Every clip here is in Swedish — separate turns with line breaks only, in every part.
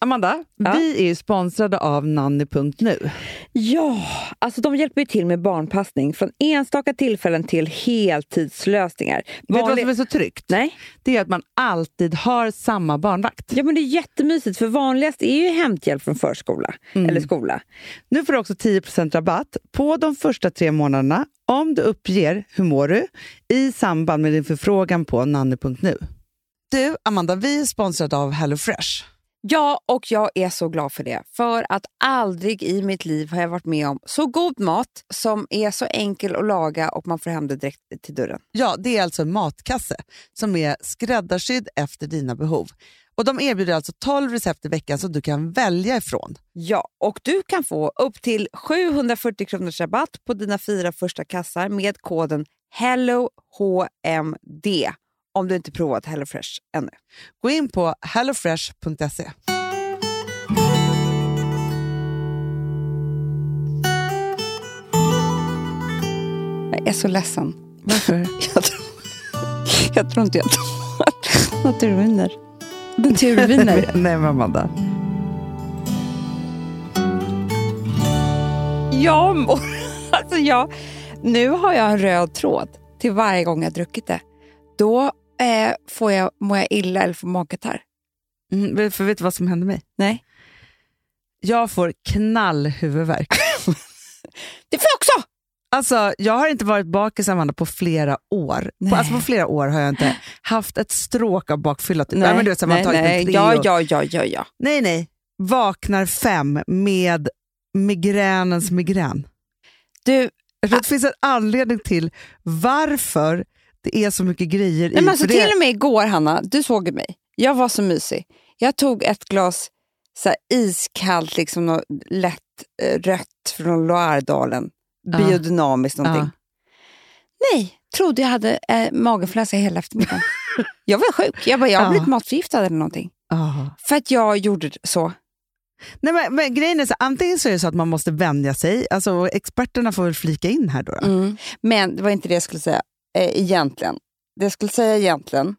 Amanda,
Ja.
vi är ju sponsrade av nanny.nu.
Ja, alltså de hjälper ju till med barnpassning från enstaka tillfällen till heltidslösningar.
Vet du vad
Vanlig-
som är så tryggt?
Nej.
Det är att man alltid har samma barnvakt.
Ja, men det är jättemysigt, för vanligast är ju hämthjälp från förskola eller skola.
Nu får du också 10 rabatt på de första tre månaderna om du uppger hur mår du i samband med din förfrågan på nanny.nu. Du, Amanda, vi är sponsrade av HelloFresh.
Ja, och jag är så glad för det. För att aldrig i mitt liv har jag varit med om så god mat som är så enkel att laga och man får hem det direkt till dörren.
Ja, det är alltså en matkasse som är skräddarsydd efter dina behov. Och De erbjuder alltså 12 recept i veckan som du kan välja ifrån.
Ja, och du kan få upp till 740 kronors rabatt på dina fyra första kassar med koden HELLOHMD om du inte provat HelloFresh ännu.
Gå in på hellofresh.se.
Jag är så ledsen. Varför? Jag tror, jag tror inte jag tar naturviner. Naturviner.
Nej, men Amanda.
jag mår... Alltså jag, nu har jag en röd tråd till varje gång jag druckit det. Då eh, får jag, mår jag illa eller får magkatarr.
Mm, för vet du vad som hände mig?
Nej.
Jag får knallhuvudvärk.
Det får jag också!
Alltså, jag har inte varit bakis Amanda på flera år.
Nej.
På, alltså, på flera år har jag inte haft ett stråk av bakfylla. Typ. Nej,
Nej,
men du vet, så här, man har tagit en
nej.
Treo.
Ja, ja, ja, ja, ja.
nej, nej. Vaknar fem med migränens migrän.
Du,
Jag tror att det finns en anledning till varför det är så mycket grejer
nej,
i.
men alltså,
för
till
det,
och med igår Hanna, du såg ju mig. Jag var så mysig. Jag tog ett glas så här, iskallt, liksom, något lätt eh, rött från Loiredalen.
Ja.
Biodynamiskt någonting.
Ja.
Nej, trodde jag hade eh, magenfluensa hela eftermiddagen. jag var sjuk. Jag bara, jag har
Ja.
blivit matförgiftad eller någonting.
Ah.
För att jag gjorde så.
Nej, men, men grejen är så, antingen så är det så att man måste vänja sig, alltså, och experterna får väl flika in här då.
Mm.
då.
Men det var inte det jag skulle säga eh, egentligen. Det jag skulle säga egentligen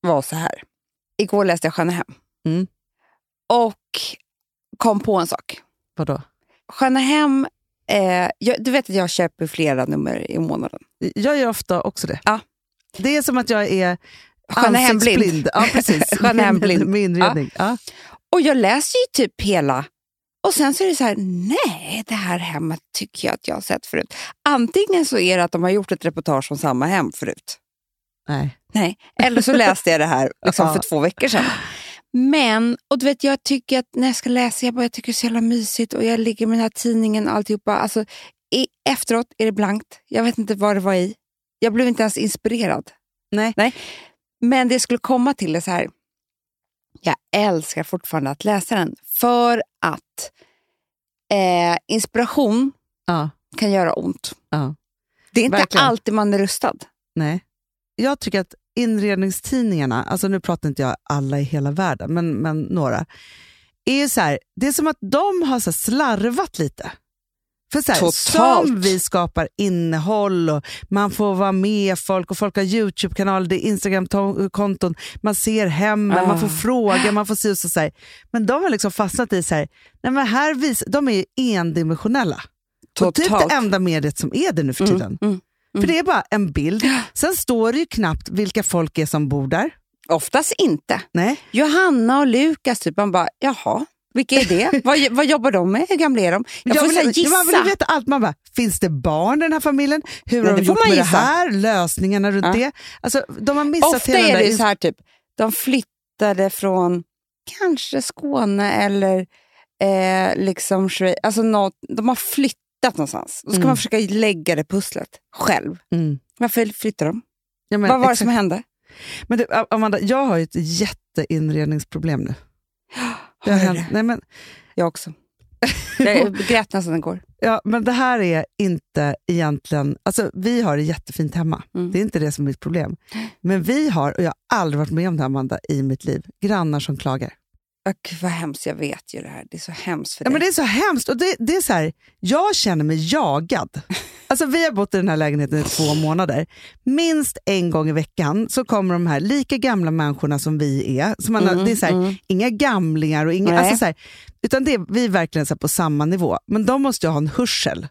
var så här. Igår läste jag Stjärna hem.
Mm.
Och kom på en sak.
Vadå?
Stjärna hem, eh, jag, du vet att jag köper flera nummer i månaden.
Jag gör ofta också det.
Ja.
Det är som att jag är
Stjärna hem blind.
ansiktsblind. Ja, precis.
Stjärna hem
Med-
blind.
Med inredning. Ja.
Och jag läser ju typ hela. Och sen så är det så här, nej, det här hemmet tycker jag att jag har sett förut. Antingen så är det att de har gjort ett reportage om samma hem förut.
Nej.
Nej, eller så läste jag det här liksom,
Ja.
för två veckor sedan. Men, och du vet, jag tycker att när jag ska läsa, jag, bara, jag tycker det är så jävla mysigt och jag ligger med den här tidningen och alltihopa. Alltså, i, efteråt är det blankt. Jag vet inte vad det var i. Jag blev inte ens inspirerad.
Nej.
Nej. Men det jag skulle komma till är så här. Jag älskar fortfarande att läsa den för att eh, inspiration
Ja.
kan göra ont.
Ja.
Det är inte
Verkligen.
alltid man är rustad.
Nej. Jag tycker att inredningstidningarna, alltså nu pratar inte jag alla i hela världen, men, men några, är ju så här, det är som att de har så här slarvat lite. För så här,
Totalt.
som vi skapar innehåll och man får vara med folk och folk har Youtube-kanaler, det är Instagram-konton, man ser hemmen,
Ah.
man får fråga, man får se och så, så här. Men de har liksom fastnat i så här, nej men här vis, de är ju endimensionella. Och typ
Totalt.
det enda mediet som är det nu för tiden.
mm.
För det är bara en bild. Sen står det ju knappt vilka folk är som bor där.
Oftast inte.
Nej.
Johanna och Lukas, typ. Man bara, jaha, vilka är det? vad, vad jobbar de med? Hur gamla är de? Jag, får så här gissa.
Man vill ju veta allt. Man bara, finns det barn i den här familjen? Hur
Nej,
har de
det får
gjort
man
med
gissa.
det här? Lösningarna runt
Ja.
det? Alltså, de har missat
Ofta
hela den
är
där
det ju så här, typ, de flyttade från kanske Skåne eller eh, liksom Schweiz. Alltså något, de har flyttat någonstans. Då ska
Mm.
man försöka lägga det pusslet själv.
Mm.
Varför flyttade de?
Ja, men,
Vad var det
exakt.
som hände?
men du, Amanda, jag har ju ett jätteinredningsproblem nu. Det har
Har du
hänt,
det?
nej, men,
Jag också. Jag grät nästan igår.
ja, men det här är inte egentligen... Alltså, vi har det jättefint hemma.
Mm.
Det är inte det som är mitt problem. Men vi har, och jag har aldrig varit med om det här, Amanda, i mitt liv, grannar som klagar.
Oh, Gud, vad hemskt, jag vet ju det här. Det är så hemskt för
Ja,
dig.
men det är så hemskt. Och det, det är så här, jag känner mig jagad. Alltså, vi har bott i den här lägenheten i två månader. Minst en gång i veckan så kommer de här lika gamla människorna som vi är. Som alla,
Mm,
det är så här,
mm.
Inga gamlingar och inga...
Nej.
Alltså så här, utan det, vi är verkligen så här på samma nivå. Men de måste ju ha en hörsel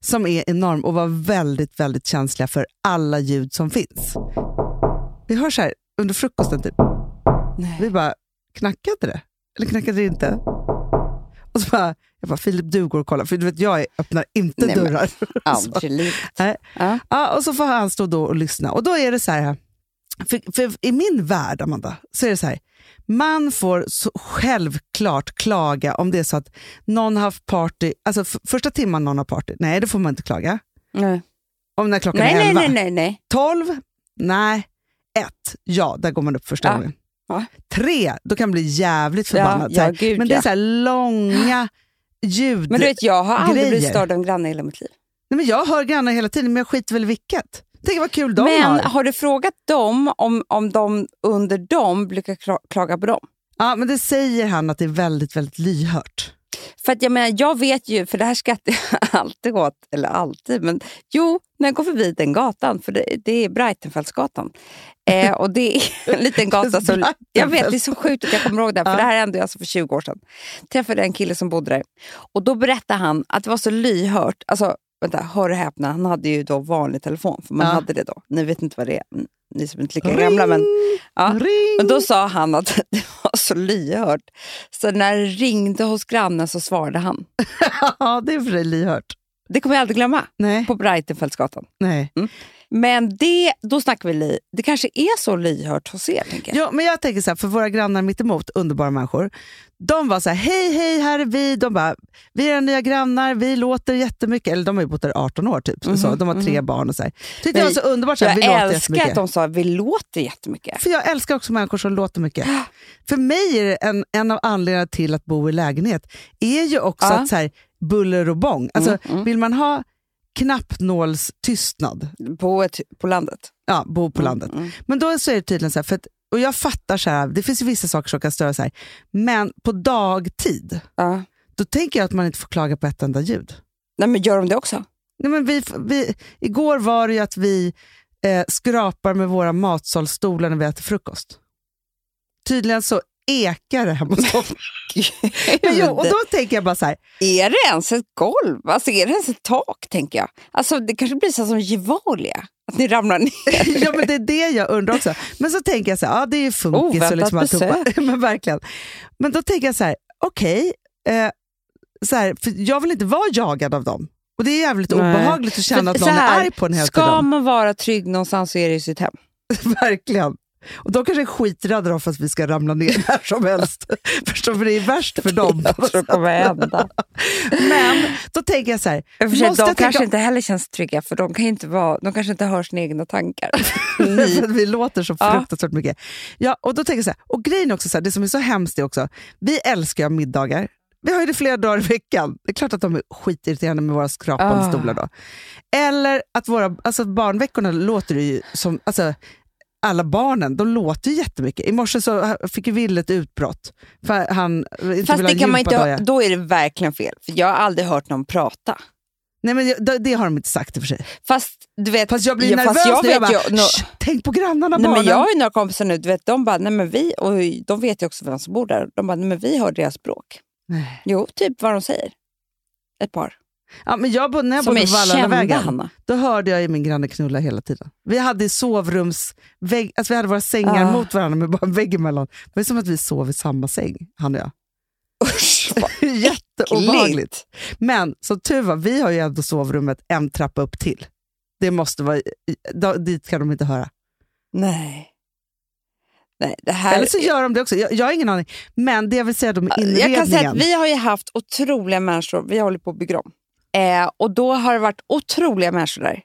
som är enorm och vara väldigt, väldigt känsliga för alla ljud som finns. Vi hör så här under frukosten typ. Vi
Nej.
bara, knackade det? Eller knackade det inte? Och så bara, jag bara, Filip du går och kollar, för du vet jag är- öppnar inte
Nej, men-
dörrar. Så-
Absolut.
Nej.
Ja.
Ja, och så får han stå då och lyssna. Och då är det så här, för, för i min värld Amanda, så är det så här, man får så självklart klaga om det är så att någon har haft party, alltså f- första timman någon har party, nej det får man inte klaga.
Nej.
Om när klockan
Nej,
är
nej,
elva.
nej, nej, nej.
Tolv, nej. Ett, ja där går man upp första
Ja.
gången.
Ja.
Tre, då kan man bli jävligt
Ja,
förbannad. Så
ja,
här,
gud,
men det är
ja.
så här långa ljud.
Men du vet, jag har aldrig blivit
grejer.
störd av en granne i hela mitt liv.
nej, men jag hör grannar hela tiden, men jag skiter väl i vilket. Tänk vad kul de
men har.
har.
du frågat dem om, om de under dem brukar kla- klaga på dem?
Ja, men det säger han att det är väldigt, väldigt lyhört.
För att jag menar, jag vet ju, för det här skrattar jag alltid åt, eller alltid, men jo, när jag går förbi den gatan, för det, det är Breitenfeldtsgatan. Eh, och det är en liten gata som... alltså, Jag vet, det är så sjukt att jag kommer ihåg det, här, för
Ja.
det här hände ju alltså för 20 år sedan. Träffade en kille som bodde där och då berättade han att det var så lyhört, alltså vänta, hör och häpna, han hade ju då vanlig telefon, för man
Ja.
hade det då. Ni vet inte vad det är, mm, ni som inte är lika gamla, men Ja.
Ring!
men då sa han att det var så lyhört, så när det ringde hos grannen så svarade han.
ja, det är för dig lyhört.
Det kommer jag aldrig glömma,
Nej,
på Breitenfeldtsgatan.
nej.
Men det, då snackar vi li, det kanske är så lyhört hos er, tänker jag.
Jo, men jag tänker så här, för våra grannar mittemot, underbara människor. De var så här, hej, hej, här är vi. De bara, vi är era nya grannar, vi låter jättemycket. Eller de har ju bott där 18 år typ. så.
Mhm,
De har tre barn och så här. Tyckte jag var
Nej,
så underbart, så här,
Jag
vi låter
älskar att
jättemycket.
de sa vi låter jättemycket.
För jag älskar också människor som låter mycket. För mig är det en, en av anledningarna till att bo i lägenhet är ju också
Ja.
att så här, buller och bång. Alltså,
Mm, mm.
Vill man ha knappnålstystnad,
På, ett, på landet.
ja, bo på
Mm,
landet.
mm.
Men då så är det tydligen så här, för att, och jag fattar så här, det finns ju vissa saker som kan störa så här, men på dagtid,
Ja.
då tänker jag att man inte får klaga på ett enda ljud.
Nej, men gör de det också?
Nej, men vi, vi, igår var det ju att vi eh, skrapar med våra matsalsstolar när vi äter frukost. Tydligen så ekar det hemma hos dem. Men jo, och då tänker jag bara så här,
Är det ens ett golv? Alltså, är det ens ett tak, tänker jag? Alltså, det kanske blir så som Gevalia, att ni ramlar ner.
ja, men det är det jag undrar också. Men så tänker jag så här, ja det är ju funkis
Oväntat
och liksom alltihopa.
besök.
men verkligen. Men då tänker jag så här, okej, eh, så här, för jag vill inte vara jagad av dem. Och det är jävligt
Nej.
obehagligt att känna att
så
någon
här,
är arg på en hela
Ska
tiden.
man vara trygg någonstans så är det i sitt hem.
verkligen. Och de kanske är skiträdda då för att vi ska ramla ner när som helst. Förstår du? För det är värst för dem.
Jag tror det kommer hända.
Men då tänker jag så här,
I och för sig,
Måste
de
jag tänka-
kanske inte heller känns trygga, för de, kan ju inte vara, de kanske inte hör sina egna tankar.
för att vi låter så
Ja.
fruktansvärt mycket. Ja, och då tänker jag så här, och grejen är också så här, det som är så hemskt är också, vi älskar ju middagar. Vi har ju det flera dagar i veckan. Det är klart att de är skitirriterande med våra skrapande
Ah.
stolar då. Eller att våra, alltså barnveckorna låter det ju som, alltså alla barnen, de låter ju jättemycket. I morse så fick ju Wille ett utbrott. För han inte
Fast
vill ha
det kan man inte,
gympadagar.
hö- då är det verkligen fel, för jag har aldrig hört någon prata.
Nej men det, det har de inte sagt i och för sig.
Fast du vet,
Fast jag blir
Ja, fast
nervös
jag
när jag
vet
bara,
ju- nå-
"Shh, tänk på grannarna
nej,
barnen.
men jag har ju några kompisar nu, du vet, de bara, nej men vi, och de vet ju också vem som bor där, de bara, nej men vi hör deras språk.
Nej.
Jo, typ vad de säger. Ett par.
Ja, men jag, bo- när jag
som
bodde
är
på
kända,
Valhallavägen,
Hanna.
då hörde jag ju min granne knulla hela tiden. Vi hade i sovrumsvägg, alltså vi hade våra sängar
Ah.
mot varandra med bara en vägg emellan. Det var som att vi sov i samma säng, han och jag.
Usch, vad
Jätteobehagligt.
äckligt.
Men som tur var, vi har ju ändå sovrummet en trappa upp till. Det måste vara, då, dit kan de inte höra.
Nej. Nej, det här...
Eller så gör de det också, jag, jag har ingen aning. Men det jag vill säga då med inredningen.
Jag kan säga att vi har ju haft otroliga människor, vi håller på att bygga om. Eh, och då har det varit otroliga människor där.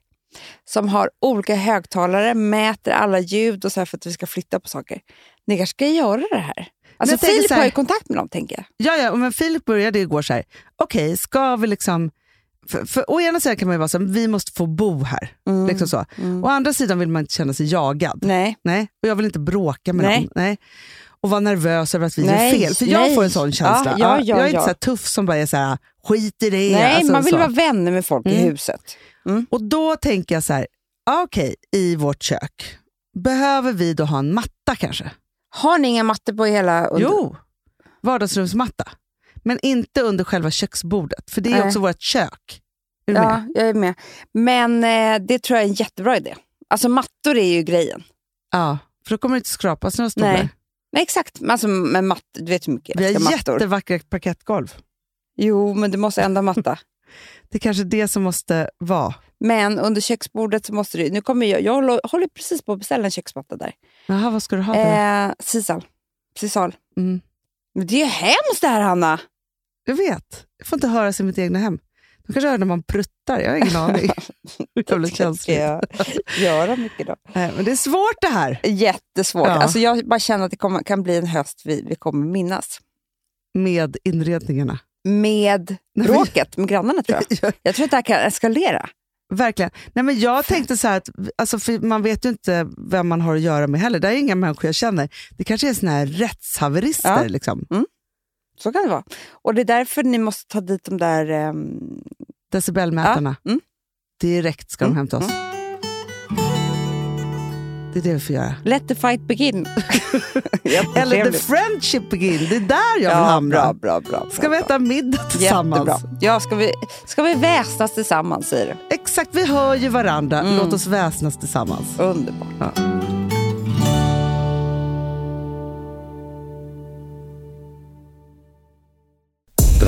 Som har olika högtalare, mäter alla ljud och så här för att vi ska flytta på saker. Ni kanske ska göra det här? Alltså
jag tänker
Filip
så här-
har ju kontakt med dem, tänker jag.
Ja, ja, men Filip började igår så här, okej, ska vi liksom... För, för, å ena sidan kan man ju vara så här, vi måste få bo här.
Mm.
Liksom så.
Mm.
Å andra sidan vill man inte känna sig jagad.
Nej.
Nej, och jag vill inte bråka med
Nej.
någon. Nej. Och vara nervös över att vi
Nej,
gör fel. För jag
nej.
får en sån känsla.
Ja, ja, ja,
jag är
ja.
inte så här tuff som bara är så här, skit i det.
Nej,
alltså,
man vill
så.
vara vänner med folk i
Mm.
huset. Mm.
Och då tänker jag så här, ah, okej, i vårt kök, behöver vi då ha en matta kanske?
Har ni inga mattor på hela? under-
Jo, vardagsrumsmatta. Men inte under själva köksbordet, för det är
Nej.
också vårt kök. Är du med?
Ja, jag är med. Men eh, det tror jag är en jättebra idé. Alltså mattor är ju grejen.
Ja, för då kommer det inte skrapas några stolar.
Nej. Nej, exakt. Men Alltså, men matt, du vet hur mycket
Vi
jag älskar
har
mattor.
jättevackra parkettgolv.
Jo, men du måste ändå matta.
Det är kanske det som måste vara.
Men under köksbordet så måste du... Nu kommer jag, jag håller, håller precis på att beställa en köksmatta där.
Jaha, vad ska du ha för det?
Eh, sisal. Sisal.
mm.
Men det är ju hemskt det här, Hanna!
Jag vet, jag får inte höra sig i mitt egna hem. De kanske hör när man pruttar, jag har ingen aning. Jävla känsligt.
jag göra mycket då.
Nej, men det är svårt det här.
Jättesvårt.
Ja.
Alltså jag bara känner att det kommer, kan bli en höst vi, vi kommer minnas.
med inredningarna.
Med
Nej, men-
bråket med grannarna tror jag. Jag tror att det här kan eskalera.
Verkligen. Nej, men jag tänkte så här, att, alltså, för man vet ju inte vem man har att göra med heller. Det här är inga människor jag känner. Det kanske är såna här rättshaverister.
Ja.
Liksom.
Så kan det vara. Och det är därför ni måste ta dit de där... ehm,
Decibelmätarna.
Ja, mm.
Direkt ska de
Mm,
hämta oss. Det är det vi får göra.
let the fight begin. Jättetrevligt.
Eller the friendship begin. Det är där jag vill
ja,
hamna.
bra, bra, bra, bra.
Ska vi
bra.
äta middag tillsammans?
Jättebra. Ja, ska vi, ska vi väsnas tillsammans, säger du?
Exakt, vi hör ju varandra.
Mm.
Låt oss väsnas tillsammans.
Underbart.
Den